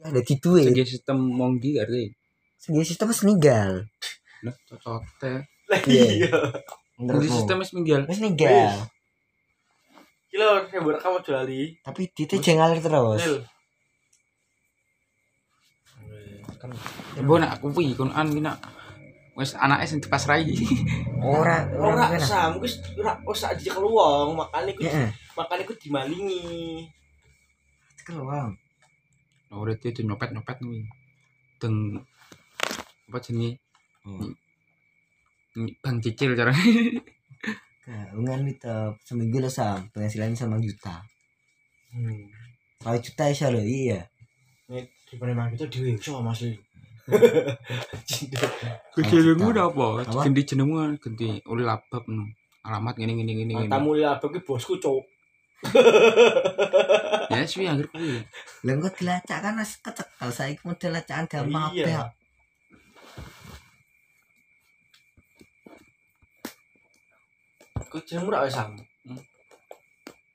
dadi duit Segi sistem monggi arti. gitu, eh. segi sistem wis ninggal Nah, cocote. Iya. iya Monggi sistem wis minggal. wis ninggal gila saya buat kamu juali tapi duitnya jengal terus Nil Ya Mbok nak aku pi kon an ki nak wis anake sing dipasrai. ora ora ora sam gue ora usah aja keluang makanya gue heeh makanya gue dimalingi keluar Ora dia tuh nyopet-nyopet kuwi. Deng apa jenenge? Hmm. Ny- Bang cicil cara. keungan itu seminggu lo sam penghasilan sama juta hmm. kalau juta iso lo iya Nih, di mana itu dewi so gitu, mas li Jenengmu apa? Apa? Ganti jenengmu ganti oleh labab no. Alamat ngene ngene ngene ngene. matamu lihat bagi bosku cowok Ya wis anggere kuwi. lo enggak dilacak kan harus kecekel saya model lacakan gampang Iya. apa kau jangan murah sam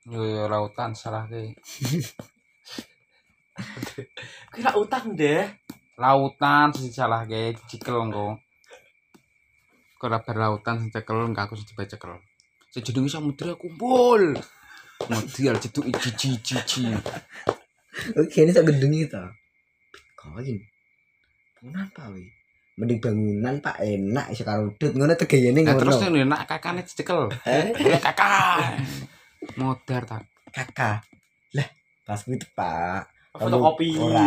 Yo yo lautan salah ke. kira utang deh Lautan sing salah ke cikel engko. Kok bar lautan sing cekel engko aku sing dibae cekel. Sejenenge sama mudri aku kumpul. Modal ceduk cici cici. Oh, oke ini tak gedung itu koin bangunan pak wi mending bangunan pak enak iso karo udut ngono tegayane Nah ngono terus nih nak kakane dicekel. Eh? Ya kakak. Modar tak. kakak lah pas gitu pak fotokopi Ora.